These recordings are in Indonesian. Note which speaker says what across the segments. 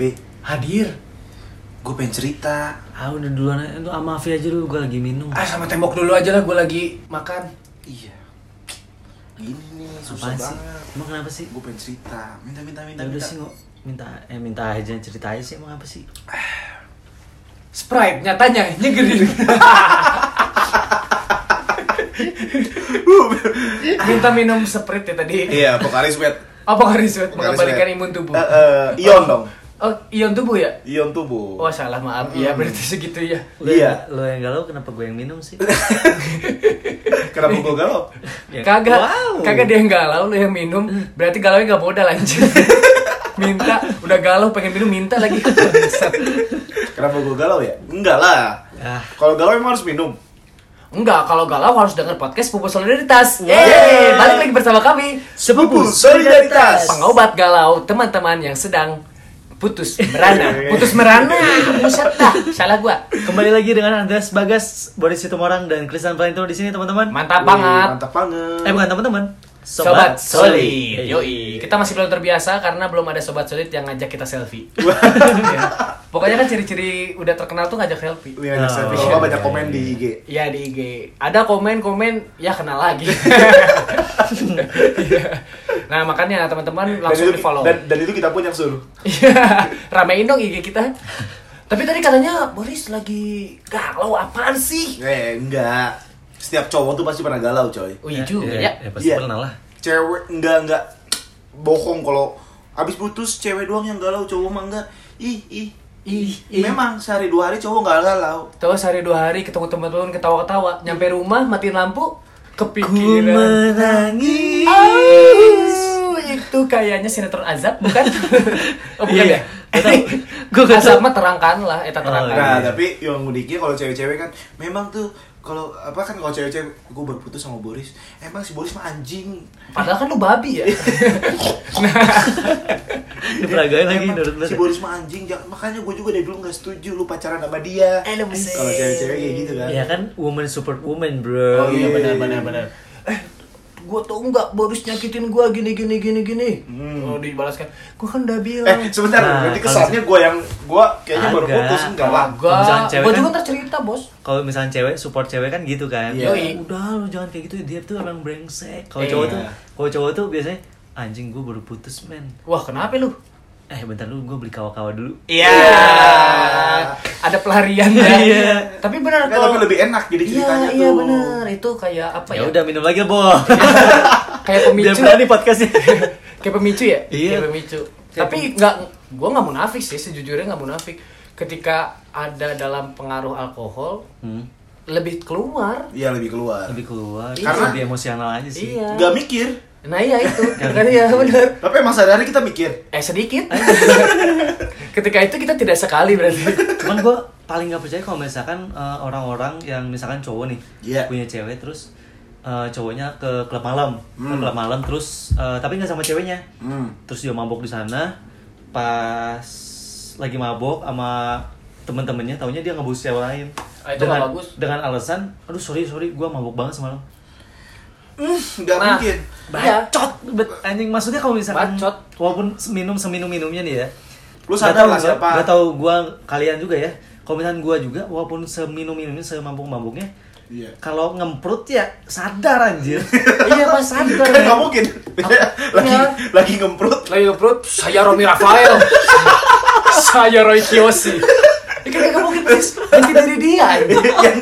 Speaker 1: Vi,
Speaker 2: Hadir.
Speaker 1: gue pengen cerita.
Speaker 3: Ah udah duluan aja, itu sama Afi aja dulu, gue lagi minum
Speaker 2: Ah sama tembok dulu aja lah, gue lagi makan.
Speaker 1: Iya. Gini nih, susah
Speaker 3: Apaan sih?
Speaker 1: banget.
Speaker 3: Emang kenapa sih?
Speaker 1: Gue pengen cerita. Minta, minta, minta,
Speaker 3: Ya udah
Speaker 1: minta.
Speaker 3: sih nggak minta eh minta aja cerita aja sih emang apa sih?
Speaker 2: Sprite nyatanya nyegerin. Uh. Minta minum Sprite ya tadi.
Speaker 1: Iya, Pokaris Wet.
Speaker 2: Apa Karis buat
Speaker 1: Pokaris
Speaker 2: mengembalikan
Speaker 1: Wet.
Speaker 2: imun tubuh?
Speaker 1: Eh, eh, ion dong.
Speaker 2: Oh, ion tubuh ya?
Speaker 1: Ion tubuh.
Speaker 2: Oh salah maaf ya berarti segitu ya.
Speaker 3: Lo
Speaker 1: Iya.
Speaker 3: yang- Lo yang galau kenapa gue yang minum sih?
Speaker 1: Kenapa gue galau?
Speaker 3: Ya,
Speaker 2: Kagak,
Speaker 3: wow.
Speaker 2: kagak dia yang galau, lu yang minum, berarti galau gak modal anjir. minta, udah galau pengen minum minta lagi. Bangsat.
Speaker 1: Kenapa gue galau ya? Enggak lah.
Speaker 3: Ah.
Speaker 1: Kalau galau emang harus minum.
Speaker 2: Enggak, kalau galau harus denger podcast Pupu Solidaritas.
Speaker 1: Wow.
Speaker 2: Yeay, balik lagi bersama kami.
Speaker 1: Sepupu solidaritas.
Speaker 2: Pengobat galau teman-teman yang sedang putus merana. Putus merana. Buset dah, salah gua.
Speaker 3: Kembali lagi dengan Andreas Bagas, Boris Situmorang dan Kristian Valentino di sini teman-teman.
Speaker 2: Mantap
Speaker 1: Wih,
Speaker 2: banget.
Speaker 1: Hmm, Mantap banget.
Speaker 3: Eh bukan teman-teman. Iya.
Speaker 2: Sobat, Solid.
Speaker 3: Hey.
Speaker 2: Yoi. Kita masih belum terbiasa karena belum ada sobat solid yang ngajak kita selfie.
Speaker 1: Wah.
Speaker 2: Ya. Pokoknya kan ciri-ciri udah terkenal tuh ngajak selfie.
Speaker 1: Ini ada
Speaker 3: Oh,
Speaker 1: selfie.
Speaker 3: iya,
Speaker 1: Kalau banyak
Speaker 3: iya,
Speaker 1: komen
Speaker 3: iya.
Speaker 1: di IG.
Speaker 2: Ya di IG. Ada komen-komen, ya kenal lagi. Iya. nah makanya teman-teman langsung
Speaker 1: dan
Speaker 2: di
Speaker 1: itu,
Speaker 2: follow.
Speaker 1: dan, dan itu kita pun yang suruh.
Speaker 2: Iya, ramein dong IG kita. Tapi tadi katanya Boris lagi galau apaan sih?
Speaker 1: Eh, enggak. Setiap cowok tuh pasti pernah galau, coy.
Speaker 2: Oh iya juga
Speaker 3: ya.
Speaker 2: ya.
Speaker 3: Ya pasti
Speaker 1: Iya.
Speaker 3: pernah lah.
Speaker 1: Cewek enggak enggak bohong kalau abis putus cewek doang yang galau, cowok mah enggak. Ih, ih.
Speaker 2: Ih, ih.
Speaker 1: Memang sehari dua hari cowok enggak galau.
Speaker 2: Tahu sehari dua hari ketemu teman-teman ketawa-ketawa, nyampe rumah matiin lampu,
Speaker 3: Ku
Speaker 2: Iya. kepikiran.
Speaker 3: menangis.
Speaker 2: Oh, itu kayaknya sinetron azab bukan? oh, bukan
Speaker 3: Iya,
Speaker 2: ya?
Speaker 3: nggak tahu. Gua nggak
Speaker 2: azab
Speaker 3: tahu.
Speaker 2: mah terangkan lah, eta terangkan.
Speaker 1: Nah,
Speaker 3: Nah, iya.
Speaker 1: tapi yang ngudiknya kalau cewek-cewek kan memang tuh kalau apa kan kalau cewek-cewek gue berputus sama Boris, emang si Boris mah anjing.
Speaker 2: Padahal kan lu babi ya.
Speaker 3: Ini peragain lagi
Speaker 1: Emang
Speaker 3: menurut lu.
Speaker 1: Si Boris mah anjing, jangan- makanya gue juga dari dulu nggak setuju lu pacaran sama dia.
Speaker 2: Eh, lu buset.
Speaker 1: Kalau cewek-cewek kayak gitu kan.
Speaker 3: Ya kan woman support woman, bro.
Speaker 1: Oh, iya, benar,
Speaker 3: benar benar.
Speaker 2: gua tau nggak Boris nyakitin gua gini gini gini gini.
Speaker 1: Hmm.
Speaker 2: Oh, dibalaskan. Gua kan udah bilang.
Speaker 1: Eh, sebentar,
Speaker 3: Nah,
Speaker 1: nanti
Speaker 3: kalau
Speaker 1: kesannya gue yang gue kayaknya baru
Speaker 3: Agak.
Speaker 1: putus enggak lah.
Speaker 3: Kalau misalnya
Speaker 2: Gua,
Speaker 3: cewek
Speaker 2: gua
Speaker 3: kan-
Speaker 2: juga ntar cerita bos.
Speaker 3: Kalau misalnya cewek support cewek kan gitu kan.
Speaker 1: Iya.
Speaker 3: Ya, Udah lu jangan kayak gitu dia tuh orang brengsek. Kalau
Speaker 2: Iya.
Speaker 3: cowok tuh kalau cowok tuh biasanya anjing gue baru putus men.
Speaker 2: Wah kenapa lu?
Speaker 3: Eh bentar lu gue beli kawa-kawa dulu. Eh,
Speaker 2: Iya. Ada pelarian ya.
Speaker 3: Iya.
Speaker 2: Tapi benar
Speaker 1: Nggak,
Speaker 2: Nah, kalau
Speaker 1: Eh, tapi lebih enak jadi
Speaker 2: Iya
Speaker 1: ceritanya
Speaker 2: iya
Speaker 1: tuh.
Speaker 2: benar itu kayak apa ya?
Speaker 1: Iya.
Speaker 3: Ya udah minum lagi boh.
Speaker 2: Kayak
Speaker 3: Dia
Speaker 2: pemicu.
Speaker 3: berani podcastnya.
Speaker 2: kayak pemicu ya?
Speaker 3: Iya.
Speaker 2: Kayak pemicu.
Speaker 3: Kayak
Speaker 2: Tapi nggak, gua nggak munafik sih sejujurnya nggak munafik. Ketika ada dalam pengaruh alkohol
Speaker 3: hmm,
Speaker 2: lebih keluar.
Speaker 1: Iya lebih keluar.
Speaker 3: lebih keluar.
Speaker 2: Iya.
Speaker 3: Karena lebih emosional aja sih.
Speaker 2: Iya.
Speaker 1: Nggak mikir,
Speaker 2: Nah iya itu. Kan iya benar.
Speaker 1: tapi emang sehari-hari kita mikir.
Speaker 2: Eh sedikit. Ketika itu kita tidak sekali berarti.
Speaker 3: Cuman gue paling gak percaya kalau misalkan eh, orang-orang yang misalkan cowok nih
Speaker 1: Iya.
Speaker 3: punya cewek terus eh, cowoknya ke klub malam, Ke
Speaker 1: Hmm.
Speaker 3: klub malam terus eh, tapi nggak sama ceweknya.
Speaker 1: Hmm.
Speaker 3: Terus dia mabok di sana pas lagi mabok sama temen-temennya taunya dia ngebus cewek lain.
Speaker 2: Ah, itu
Speaker 3: dengan,
Speaker 2: nggak bagus.
Speaker 3: dengan alasan, aduh sorry sorry gue mabok banget semalam.
Speaker 1: Nggak
Speaker 2: Nah.
Speaker 1: mungkin.
Speaker 2: Iya.
Speaker 3: Bacot, bet anjing maksudnya kalau misalkan
Speaker 2: Bacot.
Speaker 3: walaupun minum seminum minumnya nih ya.
Speaker 1: Lu
Speaker 3: nggak
Speaker 1: sadar
Speaker 3: tahu
Speaker 1: lah
Speaker 3: gua-
Speaker 1: siapa.
Speaker 3: nggak tahu gua kalian juga ya. Kalau misalkan gua juga walaupun seminum minumnya semabuk mabuknya
Speaker 1: Iya.
Speaker 3: kalau ngemprut ya sadar anjir.
Speaker 2: iya pas sadar.
Speaker 1: Kan nggak mungkin. lagi
Speaker 2: Iya.
Speaker 1: lagi ngemprut.
Speaker 2: Lagi ngeprut, ya, saya Romi Rafael. saya Roy Kiyoshi. Ini kan gak mungkin Chris. Ini dari dia. ya?
Speaker 1: yang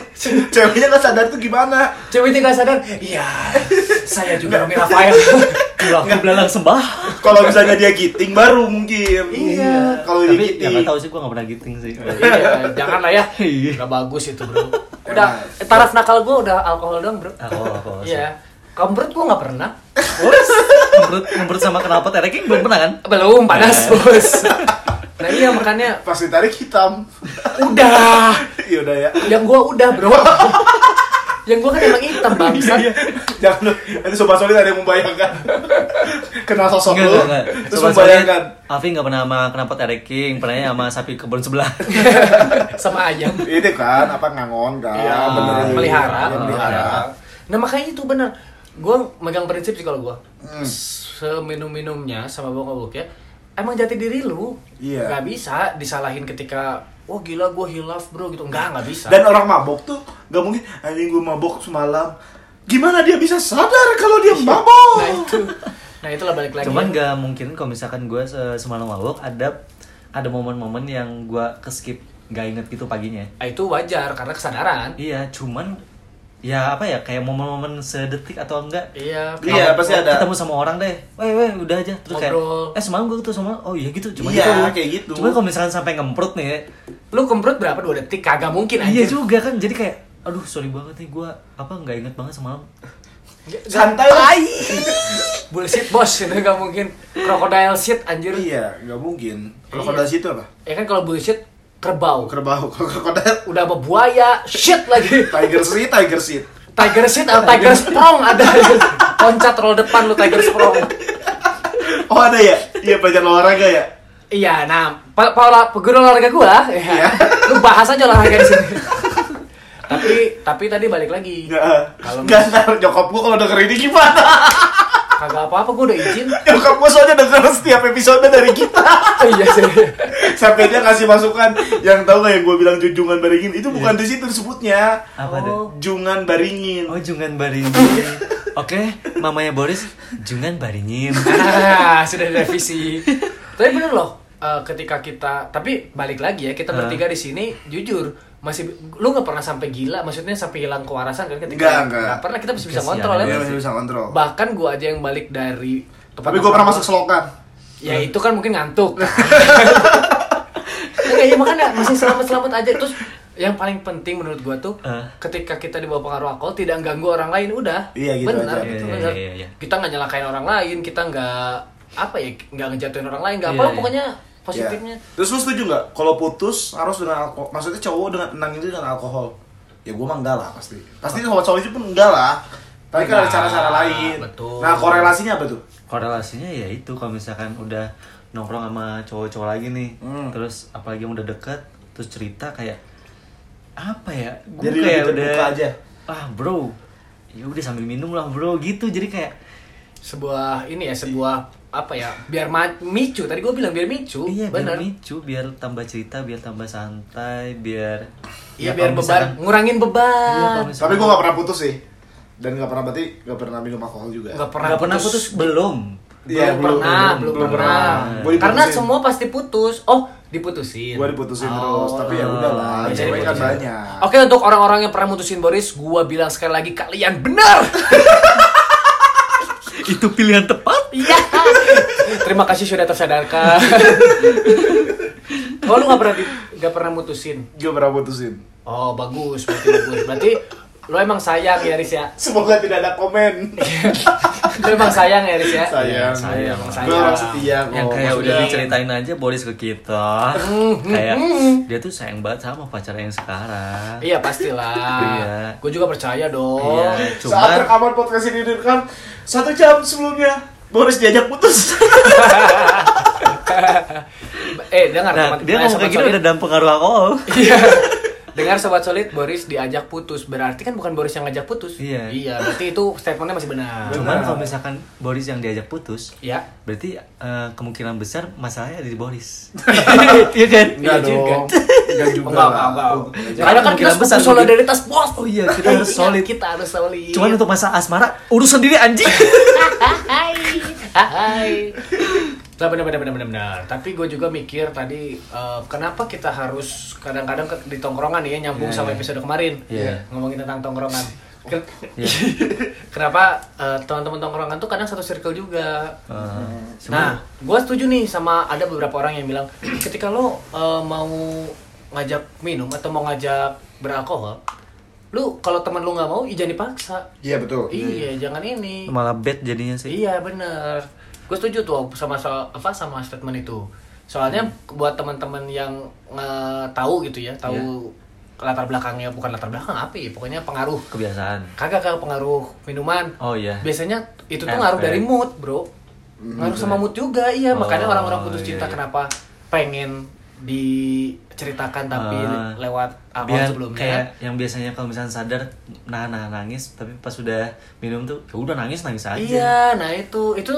Speaker 1: ceweknya nggak sadar tuh gimana?
Speaker 2: Ceweknya gak sadar. Iya, saya juga Romi Rafael.
Speaker 3: Gua aku belalang sembah.
Speaker 1: Kalau misalnya dia giting baru mungkin. Iya. Kalau dia
Speaker 3: Tapi ya
Speaker 1: giting.
Speaker 3: nggak tahu sih gua nggak pernah giting sih.
Speaker 2: iya, jangan lah ya.
Speaker 3: Iya.
Speaker 2: Gak bagus itu bro. Udah, taraf nakal gue udah alkohol doang bro.
Speaker 3: Alkohol, alkohol,
Speaker 2: Iya. Kamu perut gue gak pernah.
Speaker 3: Bos, ngemprut ngemprut sama kenapa tereking belum pernah kan?
Speaker 2: Belum, panas bos. Iya. Nah iya makanya
Speaker 1: Pas ditarik hitam.
Speaker 2: udah.
Speaker 1: Iya udah ya.
Speaker 2: Yang gue udah bro. Yang gue kan emang hitam bangsat.
Speaker 1: Jangan lu, nanti sobat solid ada yang membayangkan Kenal sosok
Speaker 3: Enggak,
Speaker 1: lu,
Speaker 3: enggak, enggak.
Speaker 1: terus
Speaker 3: Sobat
Speaker 1: Oh, membayangkan
Speaker 3: sobat, Afi nggak pernah sama kenapa tereking, pernahnya sama sapi kebun sebelah.
Speaker 2: Sama ayam.
Speaker 1: Itu kan, apa ngangon kan
Speaker 2: Iya,
Speaker 1: bener.
Speaker 2: melihara.
Speaker 1: Iya, melihara
Speaker 2: Nah makanya itu benar. Gue megang prinsip sih kalau gue. Seminum-minumnya sama bokap ya emang jati diri lu
Speaker 1: Iya.
Speaker 2: nggak bisa disalahin ketika wah gila gue hilaf bro gitu nggak nggak bisa
Speaker 1: Dan orang mabok tuh nggak mungkin anjing gue mabok semalam. Gimana dia bisa sadar kalau dia mabok?
Speaker 2: nah itu nah itulah balik
Speaker 1: ya.
Speaker 2: lagi
Speaker 3: Cuman nggak mungkin kalau misalkan gue se- semalam mabuk ada ada momen-momen yang gue keskip nggak inget gitu paginya.
Speaker 2: Nah, itu wajar karena kesadaran
Speaker 3: Iya, cuman ya apa ya kayak momen-momen sedetik atau enggak
Speaker 2: iya
Speaker 1: Iya,
Speaker 3: Kalau
Speaker 1: pasti
Speaker 3: gua
Speaker 1: ada.
Speaker 3: ketemu sama orang deh weh weh udah aja terus
Speaker 2: Ngobrol.
Speaker 3: kayak eh semalam gue ketemu sama oh iya gitu cuma
Speaker 1: Iya,
Speaker 3: gitu
Speaker 1: kayak gitu.
Speaker 3: cuma kalau misalkan sampai ngemprut nih ya,
Speaker 2: lu kemprut berapa dua detik kagak mungkin aja
Speaker 3: iya juga kan jadi kayak aduh sorry banget nih gue apa nggak inget banget semalam
Speaker 1: Santai lah.
Speaker 2: bullshit bos itu nggak mungkin crocodile shit anjir
Speaker 1: Iya, nggak mungkin. Krokodil situ apa?
Speaker 2: ya kan kalau bullshit kerbau
Speaker 1: Kerbau, kalau krokodil
Speaker 2: udah sama buaya shit lagi
Speaker 1: tiger seat, tiger seat.
Speaker 2: tiger shit atau tiger sprong ada loncat roll depan lu tiger sprong
Speaker 1: Oh ada ya? Iya pelajaran olahraga ya?
Speaker 2: Iya, nah, pa Paula guru olahraga gua, ya.
Speaker 1: Iya.
Speaker 2: lu bahas aja olahraga di sini. tapi tapi tadi balik lagi.
Speaker 1: Nggak. ah.
Speaker 2: Kalau
Speaker 1: Nggak ntar nyokap gua kalau denger ini gimana?
Speaker 2: Kagak apa-apa gua udah izin.
Speaker 1: Nyokap gua soalnya denger setiap episode dari kita.
Speaker 2: Oh, iya sih.
Speaker 1: Sampai dia kasih masukan yang tahu nggak yang gua bilang junjungan baringin itu bukan di situ disebutnya.
Speaker 3: apa deh
Speaker 2: Oh.
Speaker 1: Jungan baringin.
Speaker 3: oh jungan baringin oke mamanya Boris jungan baringin
Speaker 2: Nah, sudah direvisi. tapi bener loh, eh, ketika kita tapi balik lagi ya, kita
Speaker 3: Hah?
Speaker 2: bertiga di sini jujur masih lu nggak pernah sampai gila, maksudnya sampai hilang kewarasan kan ketika
Speaker 1: Nggak, nggak.
Speaker 2: Nggak pernah kita masih bisa
Speaker 3: Kesian
Speaker 2: kontrol
Speaker 1: Dia
Speaker 2: ya.
Speaker 3: banget
Speaker 1: Iya, masih bisa kontrol.
Speaker 2: Bahkan gua aja yang balik dari tempat
Speaker 1: Tapi gua pernah masuk
Speaker 2: nongkrong.
Speaker 1: selokan.
Speaker 2: Ya itu kan mungkin ngantuk. Enggak, ya makanya masih selamat-selamat aja. Terus yang paling penting menurut gua tuh
Speaker 3: Eh.
Speaker 2: ketika kita di bawah pengaruh alkohol tidak ganggu orang lain udah.
Speaker 1: Iya, gitu
Speaker 2: Benar,
Speaker 1: aja.
Speaker 2: gitu,
Speaker 3: Iya,
Speaker 2: benar.
Speaker 3: iya, iya.
Speaker 2: Kita nggak nyalakain orang lain, kita nggak apa ya, nggak ngejatuhin orang lain, nggak
Speaker 3: Iya,
Speaker 2: apa
Speaker 3: iya.
Speaker 2: pokoknya
Speaker 1: Iya.
Speaker 2: positifnya.
Speaker 1: Terus lu setuju nggak? Kalau putus harus dengan alkohol. Maksudnya cowok dengan enang itu dengan alkohol. Ya gua mah enggak lah pasti. Pasti kalau cowok itu pun enggak lah. Tapi kan ada
Speaker 2: Enggak,
Speaker 1: cara-cara lain.
Speaker 2: betul.
Speaker 1: Nah korelasinya apa tuh?
Speaker 3: korelasinya ya itu kalau misalkan udah nongkrong sama cowok-cowok lagi nih
Speaker 1: Hmm.
Speaker 3: terus apalagi yang udah deket terus cerita kayak apa ya gue
Speaker 1: Jadi
Speaker 3: kayak
Speaker 1: lebih
Speaker 3: udah
Speaker 1: terbuka aja.
Speaker 3: ah bro ya udah sambil minum lah bro gitu jadi kayak
Speaker 2: Sebuah ini ya, sebuah apa ya, biar ma- micu. Tadi gua bilang biar micu,
Speaker 3: iya biar
Speaker 2: benar.
Speaker 3: micu biar tambah cerita biar tambah santai biar ya,
Speaker 2: Iya biar
Speaker 3: kalau
Speaker 2: beban,
Speaker 3: misalkan-
Speaker 2: ngurangin
Speaker 3: Iya, kalau
Speaker 2: beban.
Speaker 3: misalkan-
Speaker 1: Tapi gua nggak pernah putus sih. Dan nggak pernah berarti nggak pernah minum alkohol juga.
Speaker 2: Nggak
Speaker 3: nggak pernah putus belum
Speaker 1: Iya,
Speaker 2: belum, pernah, belum, pernah.
Speaker 1: Gua diputusin.
Speaker 2: Karena semua pasti putus. Oh, diputusin.
Speaker 1: Gua diputusin
Speaker 2: Oh,
Speaker 1: terus, tapi ya udah lah.
Speaker 3: iya,
Speaker 1: Cewek kan
Speaker 3: diputusin.
Speaker 1: banyak.
Speaker 2: Oke, untuk orang-orang yang pernah mutusin Boris, gua bilang sekali lagi kalian benar.
Speaker 3: itu pilihan tepat
Speaker 2: Iya. Terima kasih sudah tersadarkan. oh, lu gak pernah di- nggak pernah mutusin.
Speaker 1: Gua pernah putusin.
Speaker 2: Oh, bagus, berarti bagus. Berarti lu emang sayang ya, Riz ya.
Speaker 1: Semoga tidak ada komen.
Speaker 2: Lu emang sayang ya, Riz ya.
Speaker 1: sayang.
Speaker 3: sayang.
Speaker 2: Emang
Speaker 1: Gue orang setia kok.
Speaker 3: yang kayak udah
Speaker 1: Oh, Maksudnya-
Speaker 3: diceritain aja Boris ke kita kayak dia tuh sayang banget sama pacarnya yang sekarang
Speaker 2: Iya, pastilah.
Speaker 3: Iya.
Speaker 2: Gua juga percaya dong.
Speaker 3: Iya,
Speaker 1: Saat
Speaker 3: cuman
Speaker 1: rekaman podcast ini direkam satu jam sebelumnya Boris diajak putus.
Speaker 2: eh, dengar
Speaker 3: nah,
Speaker 2: teman-
Speaker 3: dia
Speaker 2: eh,
Speaker 3: ngomong
Speaker 2: sobat
Speaker 3: kayak gitu
Speaker 2: solid.
Speaker 3: udah dalam pengaruh alkohol.
Speaker 2: Iya. Dengar sobat solid, Boris diajak putus. Berarti kan bukan Boris yang ngajak putus.
Speaker 3: Iya.
Speaker 2: berarti itu statementnya masih benar.
Speaker 3: Cuman kalau misalkan Boris yang diajak putus,
Speaker 2: Iya.
Speaker 3: berarti eh, kemungkinan besar masalahnya ada di Boris. Iya kan?
Speaker 1: Enggak
Speaker 2: Iya juga.
Speaker 1: dong. Enggak juga.
Speaker 2: Enggak,
Speaker 1: lah.
Speaker 2: enggak, enggak.
Speaker 1: Enggak.
Speaker 2: Karena kan kita
Speaker 3: Kemungkinan besar
Speaker 2: butuh solidaritas bos.
Speaker 3: Oh iya, kita harus
Speaker 2: Iya,
Speaker 3: solid.
Speaker 2: Kita harus solid.
Speaker 3: Cuman untuk masalah asmara, urus sendiri anjing.
Speaker 2: hai. Hai. Nah, benar benar benar benar benar. Tapi gue juga mikir tadi eh, kenapa kita harus kadang-kadang ke- di tongkrongan ya nyambung
Speaker 3: Iya,
Speaker 2: sama
Speaker 3: iya.
Speaker 2: episode kemarin
Speaker 3: Iya.
Speaker 2: ngomongin tentang tongkrongan. Ken-
Speaker 3: Iya.
Speaker 2: Kenapa eh, teman-teman tongkrongan tuh kadang satu circle juga.
Speaker 3: Eh,
Speaker 2: Nah,
Speaker 3: sebenarnya-
Speaker 2: gue setuju nih sama ada beberapa orang yang bilang ketika lo eh, mau ngajak minum atau mau ngajak beralkohol, lu kalau teman lu nggak mau, ih, jangan dipaksa.
Speaker 1: Iya betul.
Speaker 2: Iya, jangan ini.
Speaker 3: malah bad jadinya sih.
Speaker 2: Iya bener. Gue setuju tuh sama soal apa sama statement itu. Soalnya
Speaker 3: Hmm.
Speaker 2: buat teman-teman yang eh, tahu gitu ya, tahu
Speaker 3: Iya.
Speaker 2: latar belakangnya bukan latar belakang apa ya, pokoknya pengaruh.
Speaker 3: Kebiasaan.
Speaker 2: Kagak kagak pengaruh minuman.
Speaker 3: Oh iya.
Speaker 2: Biasanya itu tuh
Speaker 3: Efek.
Speaker 2: ngaruh dari mood, bro. Ngaruh sama mood juga, iya. Makanya
Speaker 3: Oh,
Speaker 2: orang-orang putus
Speaker 3: iya,
Speaker 2: cinta
Speaker 3: iya.
Speaker 2: kenapa pengen diceritakan tapi
Speaker 3: Ah.
Speaker 2: lewat awal
Speaker 3: biar
Speaker 2: sebelumnya
Speaker 3: kayak yang biasanya kalau misalnya sadar nahan nahan nangis tapi pas sudah minum tuh ya udah nangis nangis aja
Speaker 2: Iya, nah itu itu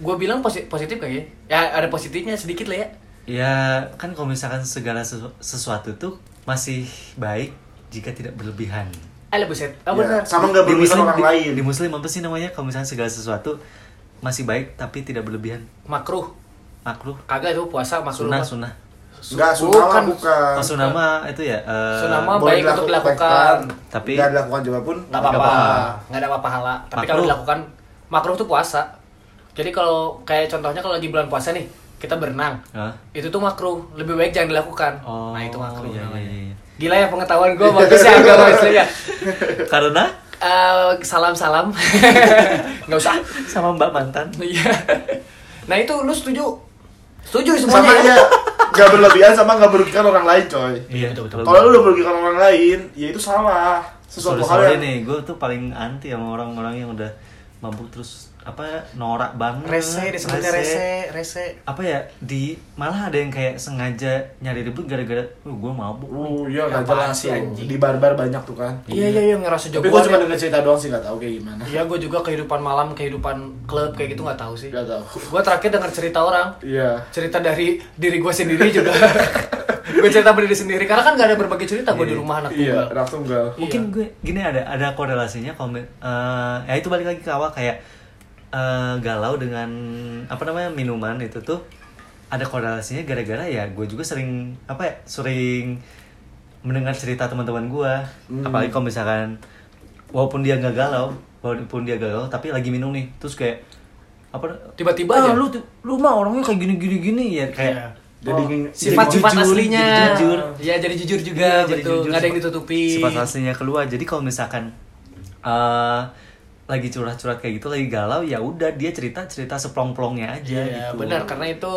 Speaker 2: gue bilang posi- positif kayaknya. Ya ada positifnya sedikit lah ya.
Speaker 3: ya kan kalau misalkan segala sesu- sesuatu tuh masih baik jika tidak berlebihan
Speaker 2: Eh lebih set.
Speaker 1: Ya,
Speaker 2: Ah benar.
Speaker 1: sama nggak
Speaker 3: Di
Speaker 1: berurusan
Speaker 3: muslim-
Speaker 1: orang
Speaker 3: di-
Speaker 1: lain
Speaker 3: di muslim apa sih namanya kalau misalnya segala sesuatu masih baik tapi tidak berlebihan
Speaker 2: Makruh.
Speaker 3: makruh
Speaker 2: Kagak itu puasa makruh.
Speaker 3: sunnah sunnah
Speaker 1: Enggak, sunah lah, bukan.
Speaker 3: Kalau sunnah mah itu ya eh,
Speaker 2: Sunnah mah-
Speaker 1: Boleh
Speaker 2: baik untuk
Speaker 1: dilakukan,
Speaker 2: dilakukan.
Speaker 3: Tapi-
Speaker 1: nggak dilakukan juga pun
Speaker 2: Nggak
Speaker 3: Nggak
Speaker 2: apa-apa.
Speaker 3: apa-apa.
Speaker 2: Nggak ada apa-apa pahala. Tapi kalau
Speaker 3: Makruh.
Speaker 2: dilakukan makruh tuh puasa. Jadi kalau kayak contohnya kalau lagi bulan puasa nih, kita berenang.
Speaker 3: Hah?
Speaker 2: Itu tuh makruh. Lebih baik jangan dilakukan.
Speaker 3: Oh,
Speaker 2: nah, itu makruh
Speaker 3: iya, iya,
Speaker 2: namanya.
Speaker 3: iya.
Speaker 2: Gila ya pengetahuan gue bagus ya agama Islam ya.
Speaker 3: karena
Speaker 2: Eh, Salam-salam. Nggak usah.
Speaker 3: sama mbak mantan
Speaker 2: Iya. nah itu lu setuju? Setuju
Speaker 1: sama aja
Speaker 2: semuanya ya?
Speaker 1: nggak berlebihan sama nggak merugikan orang lain coy
Speaker 2: Iya, betul-betul.
Speaker 3: kalau- gitu.
Speaker 1: kalau lu udah merugikan orang lain ya itu salah sesuatu
Speaker 3: Sorry,
Speaker 1: hal
Speaker 3: sorry
Speaker 1: yang
Speaker 3: nih, gue tuh paling anti sama orang-orang yang udah mabuk terus apa ya, norak banget.
Speaker 2: Rese disebutnya rese, rese.
Speaker 3: Apa ya di malah ada yang kayak sengaja nyari ribut gara-gara lu gue mabuk.
Speaker 1: Oh iya
Speaker 2: Apaan
Speaker 1: nggak jelas
Speaker 2: sih,
Speaker 1: tuh.
Speaker 2: anjing?
Speaker 1: di barbar banyak tuh kan
Speaker 2: Iya iya iya ngerasa
Speaker 1: tapi gue
Speaker 2: jagoan.
Speaker 1: cuma
Speaker 2: ya.
Speaker 1: denger cerita doang sih nggak tahu kayak gimana
Speaker 2: Iya gue juga kehidupan malam, kehidupan klub kayak gitu nggak tahu sih.
Speaker 1: nggak tahu
Speaker 2: Gue terakhir denger cerita orang,
Speaker 1: iya
Speaker 2: cerita dari diri gue sendiri juga. gue cerita berdiri sendiri karena kan gak ada berbagi cerita gue di rumah anak
Speaker 1: iya
Speaker 2: tunggal. Oh.
Speaker 1: anak tunggal
Speaker 2: Iya.
Speaker 3: Mungkin gue gini ada ada korelasinya kalau mi- eh, ya itu balik lagi ke awal kayak eh, galau dengan apa namanya minuman itu tuh ada korelasinya gara-gara ya gue juga sering apa ya sering mendengar cerita teman-teman gue
Speaker 2: Hmm.
Speaker 3: apalagi kalau misalkan walaupun dia nggak galau walaupun dia galau tapi lagi minum nih terus kayak apa
Speaker 2: Tiba-tiba
Speaker 3: "Ah,
Speaker 2: aja."
Speaker 3: lu lu mah orangnya kayak gini gini gini ya kayak
Speaker 2: Iya.
Speaker 1: Jadi
Speaker 3: oh,
Speaker 2: Sifat-sifat
Speaker 3: jujur,
Speaker 2: aslinya.
Speaker 3: jadi jujur
Speaker 2: Iya jadi jujur juga
Speaker 3: Iya, jadi
Speaker 2: betul.
Speaker 3: jujur.
Speaker 2: Nggak ada yang ditutupi.
Speaker 3: sifat aslinya keluar jadi kalau misalkan eh, lagi curhat-curhat kayak gitu lagi galau ya udah dia cerita cerita seplong-plongnya aja
Speaker 2: Iya
Speaker 3: gitu
Speaker 2: benar karena itu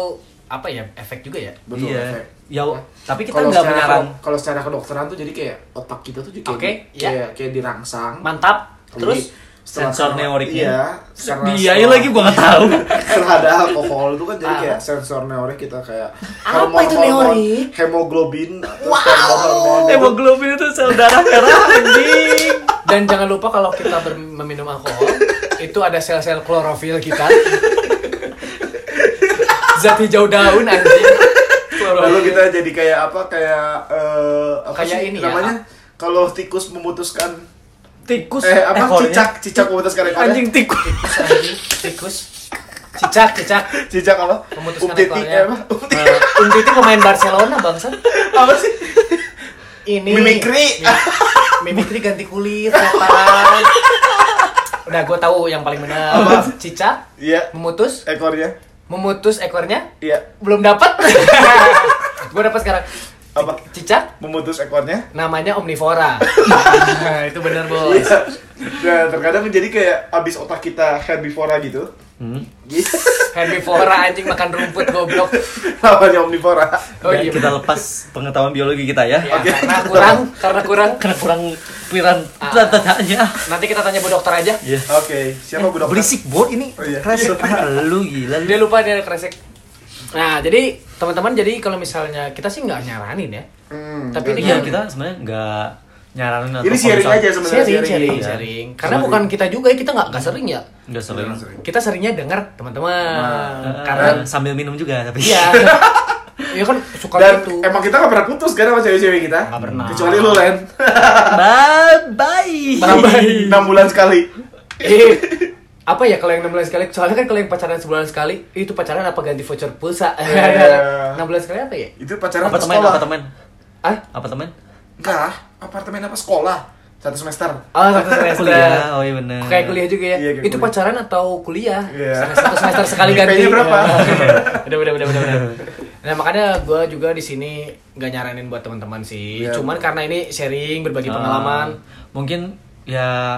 Speaker 2: apa ya efek juga ya.
Speaker 1: betul
Speaker 3: iya
Speaker 1: efek.
Speaker 3: ya tapi kita
Speaker 1: Kalau
Speaker 3: nggak
Speaker 1: secara-
Speaker 3: menyarang
Speaker 1: kalau secara kedokteran tuh jadi kayak otak kita tuh jadi kayak
Speaker 2: Oke,
Speaker 1: kayak,
Speaker 2: iya.
Speaker 1: kayak dirangsang
Speaker 2: Mantap. Terus
Speaker 1: Jadi setelah-
Speaker 3: sensor neuriknya.
Speaker 1: iya karena
Speaker 3: dia
Speaker 1: setelah-
Speaker 3: lagi gua nggak tahu
Speaker 1: setelah ada alkohol itu kan jadi
Speaker 2: Ah.
Speaker 1: kayak sensor neorik kita kayak
Speaker 2: Apa itu neorik?
Speaker 1: hemoglobin wow hormon
Speaker 3: hemoglobin itu sel darah merah anjing
Speaker 2: Dan jangan lupa kalau kita ber- meminum alkohol, itu ada sel-sel klorofil kita. Zat hijau daun anjing.
Speaker 1: lalu
Speaker 2: Klorofil.
Speaker 1: kita jadi kayak apa kayak eh, apa
Speaker 2: Kayak
Speaker 1: sih
Speaker 2: ini ya,
Speaker 1: namanya kalau tikus memutuskan
Speaker 3: tikus
Speaker 1: eh apa
Speaker 3: ekornya.
Speaker 1: cicak cicak memutuskan ekornya
Speaker 3: anjing tikus
Speaker 2: Tikus, anjing, tikus. Cicak, cicak.
Speaker 1: cicak apa
Speaker 2: Memutuskan
Speaker 1: Uptiti,
Speaker 2: ekornya.
Speaker 1: eh, apa Uptiti.
Speaker 2: Eh, Umtiti itu pemain Barcelona bangsa.
Speaker 1: apa sih
Speaker 2: Ini
Speaker 1: Mimikri.
Speaker 2: Mim- Mimikri ganti kulit, setan. Udah gue tahu yang paling benar. Cicak
Speaker 1: iya
Speaker 2: memutus
Speaker 1: ekornya
Speaker 2: memutus ekornya
Speaker 1: iya
Speaker 2: belum dapat. gue dapat sekarang.
Speaker 1: apa
Speaker 2: Cicak
Speaker 1: memutus ekornya
Speaker 2: namanya omnivora Nah, itu benar bos
Speaker 1: Iya. Nah, terkadang jadi kayak abis otak kita herbivora gitu.
Speaker 3: Hmm.
Speaker 1: Gitu.
Speaker 2: herbivora anjing makan rumput goblok
Speaker 1: Lawannya omnivora.
Speaker 2: oh
Speaker 3: Dan
Speaker 2: iya
Speaker 3: kita lepas pengetahuan biologi kita ya,
Speaker 2: Ya,
Speaker 1: Oke.
Speaker 2: karena kurang karena kurang
Speaker 3: karena kurang pikiran
Speaker 2: Ah.
Speaker 3: tanya
Speaker 2: nanti kita tanya bu dokter aja
Speaker 3: ya
Speaker 1: Oke, Oh, siapa bu dokter?
Speaker 3: berisik bor ini
Speaker 1: Oh, iya.
Speaker 3: resep lu gila lu.
Speaker 2: dia lupa dia kresek nah jadi teman-teman jadi kalau misalnya kita sih nggak nyaranin ya
Speaker 1: Hmm,
Speaker 2: Tapi
Speaker 1: nggak
Speaker 2: ini
Speaker 3: Iya
Speaker 1: tahu.
Speaker 3: kita sebenarnya nggak nyaranin atau
Speaker 1: ini sharing aja
Speaker 3: kalau misal-
Speaker 1: sebenarnya
Speaker 2: sharing sharing
Speaker 3: Iya.
Speaker 2: sharing karena bukan kita juga ya kita nggak nggak sering ya
Speaker 3: Nggak sering.
Speaker 2: kita seringnya dengar teman-teman
Speaker 3: Eh,
Speaker 2: karena
Speaker 3: sambil minum juga tapi.
Speaker 2: iya Iya kan suka
Speaker 1: Dan
Speaker 2: gitu
Speaker 1: emang kita gak pernah putus kan sama cewek-cewek kita?
Speaker 2: Nggak pernah.
Speaker 1: Kecuali lu, Len.
Speaker 3: bye bye.
Speaker 1: Nambahin 6 bulan sekali.
Speaker 2: Eh, apa ya kalau yang 6 bulan sekali? Soalnya kan kalau yang pacaran sebulan sekali, itu pacaran apa ganti voucher pulsa?
Speaker 1: Iya.
Speaker 2: 6 bulan sekali apa ya?
Speaker 1: Itu pacaran apa
Speaker 3: Apartemen,
Speaker 1: sekolah?
Speaker 3: apartemen,
Speaker 2: Ah,
Speaker 3: apartemen.
Speaker 1: Enggak lah, apartemen apa sekolah? Satu semester.
Speaker 2: oh, satu semester.
Speaker 3: Kuliah, oh iya bener.
Speaker 2: Kayak kuliah juga ya?
Speaker 1: Iya, kayak
Speaker 2: itu
Speaker 1: kuliah.
Speaker 2: pacaran atau kuliah?
Speaker 1: Iya.
Speaker 2: Satu semester sekali ganti. Iya.
Speaker 1: IP-nya berapa?
Speaker 2: Udah, udah, udah, udah, udah. Nah, makanya gue juga di sini nggak nyaranin buat teman-teman sih.
Speaker 1: Iya.
Speaker 2: Cuman karena ini sharing, berbagi
Speaker 3: Ah,
Speaker 2: pengalaman.
Speaker 3: mungkin ya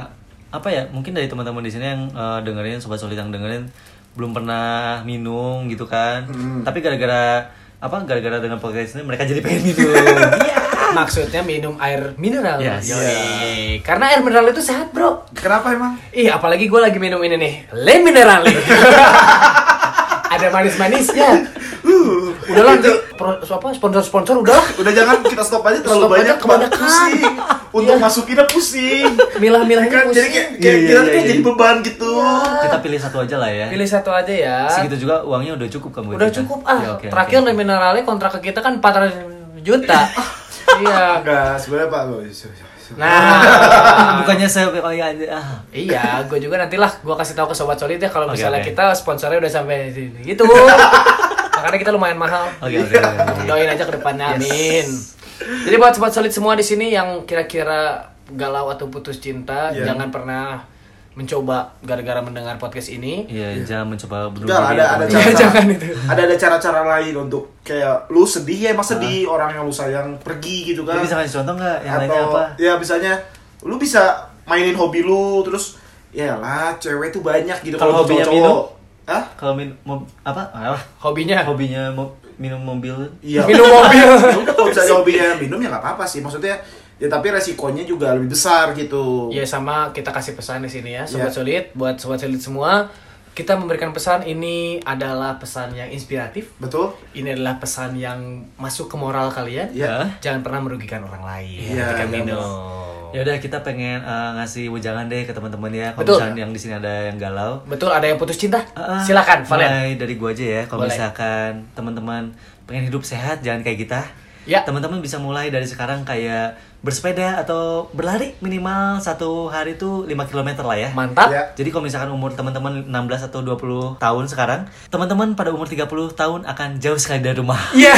Speaker 3: apa ya? Mungkin dari teman-teman di sini yang eh, dengerin sobat solid yang dengerin belum pernah minum gitu kan.
Speaker 1: Hmm.
Speaker 3: Tapi gara-gara apa? Gara-gara dengan podcast ini mereka jadi pengen minum.
Speaker 1: Ah.
Speaker 2: Iya. Maksudnya minum air mineral.
Speaker 3: Yes.
Speaker 2: Yoi. Karena air mineral itu sehat, bro.
Speaker 1: Kenapa emang?
Speaker 2: Ih, apalagi gue lagi minum ini nih, Le Minerale. Ada manis-manisnya.
Speaker 1: Aduh.
Speaker 2: udahlah itu apa sponsor-sponsor udahlah
Speaker 1: Udah jangan kita stop aja terlalu
Speaker 2: Stop aja,
Speaker 1: banyak
Speaker 2: kebanyakan.
Speaker 1: Bang, pusing. Untuk
Speaker 2: Iya.
Speaker 1: masukinnya pusing.
Speaker 2: milah-milahnya
Speaker 1: Kan jadi kayak kayak
Speaker 2: pusing.
Speaker 3: Iya, iya,
Speaker 1: kita
Speaker 3: iya,
Speaker 1: kayak
Speaker 3: iya.
Speaker 1: jadi beban gitu.
Speaker 3: Kita pilih satu aja lah ya.
Speaker 2: pilih satu aja ya
Speaker 3: Segitu juga uangnya udah cukup kamu. Ya,
Speaker 2: udah cukup ah terakhir nominalnya kontrak ke kita kan 400 juta iya
Speaker 1: Enggak, sebenarnya Pak. ya,
Speaker 2: nah
Speaker 3: Bukannya saya oh, ya, ah.
Speaker 2: Iya, gue juga nantilah gue kasih tahu ke sobat solid ya kalau
Speaker 3: Oke,
Speaker 2: misalnya
Speaker 3: oke.
Speaker 2: kita sponsornya udah sampai sini gitu. Makanya kita lumayan mahal.
Speaker 3: Oke, oke, oke, oke.
Speaker 2: Doain aja ke depannya, amin. Jadi buat sobat solid semua di sini yang kira-kira galau atau putus cinta,
Speaker 1: Iya.
Speaker 2: jangan pernah mencoba gara-gara mendengar podcast ini.
Speaker 3: Iya, jangan mencoba belum. ya.
Speaker 1: Enggak, ada ada
Speaker 2: Iya,
Speaker 1: cara.
Speaker 2: jangan itu.
Speaker 1: Ada ada cara-cara lain untuk kayak lu sedih ya emang sedih orang yang lu sayang pergi gitu
Speaker 3: Lu
Speaker 1: kan.
Speaker 3: bisa kasih contoh nggak yang lainnya
Speaker 1: atau
Speaker 3: apa?
Speaker 1: ya misalnya lu bisa mainin hobi lu terus ya lah cewek tuh banyak gitu
Speaker 3: Kalau
Speaker 1: untuk
Speaker 3: hobinya
Speaker 1: cowok-cowok. Hah?
Speaker 3: Kalau min mom, apa? Ah,
Speaker 2: Hobinya
Speaker 3: hobinya mo- minum mobil.
Speaker 1: Iya.
Speaker 2: minum mobil.
Speaker 1: Ya udah kalau misalnya hobinya minum ya nggak apa-apa sih maksudnya ya tapi resikonya juga lebih besar gitu
Speaker 2: Ya sama kita kasih pesan di sini ya, sobat
Speaker 1: Iya.
Speaker 2: solid, buat sobat solid semua. Kita memberikan pesan ini adalah pesan yang inspiratif.
Speaker 1: betul
Speaker 2: Ini adalah pesan yang masuk ke moral kalian.
Speaker 1: Iya.
Speaker 2: Jangan pernah merugikan orang lain
Speaker 1: Iya,
Speaker 2: ketika
Speaker 1: iya,
Speaker 2: minum.
Speaker 3: Ya udah kita pengen eh, ngasih wejangan deh ke teman-teman ya.
Speaker 2: Betul.
Speaker 3: Kalau misalnya yang di sini ada yang galau,
Speaker 2: Betul, ada yang putus cinta?
Speaker 3: Ah,
Speaker 2: Silakan, Valen.
Speaker 3: Mulai dari gua aja ya. Kalau
Speaker 2: Boleh.
Speaker 3: misalkan teman-teman pengen hidup sehat, jangan kayak kita.
Speaker 2: Ya.
Speaker 3: Teman-teman bisa mulai dari sekarang kayak bersepeda atau berlari minimal satu hari itu 5 km lah ya.
Speaker 2: Mantap.
Speaker 1: Iya.
Speaker 3: Jadi kalau misalkan umur teman-teman 16 atau 20 tahun sekarang, teman-teman pada umur 30 tahun akan jauh sekali dari rumah.
Speaker 2: Iya.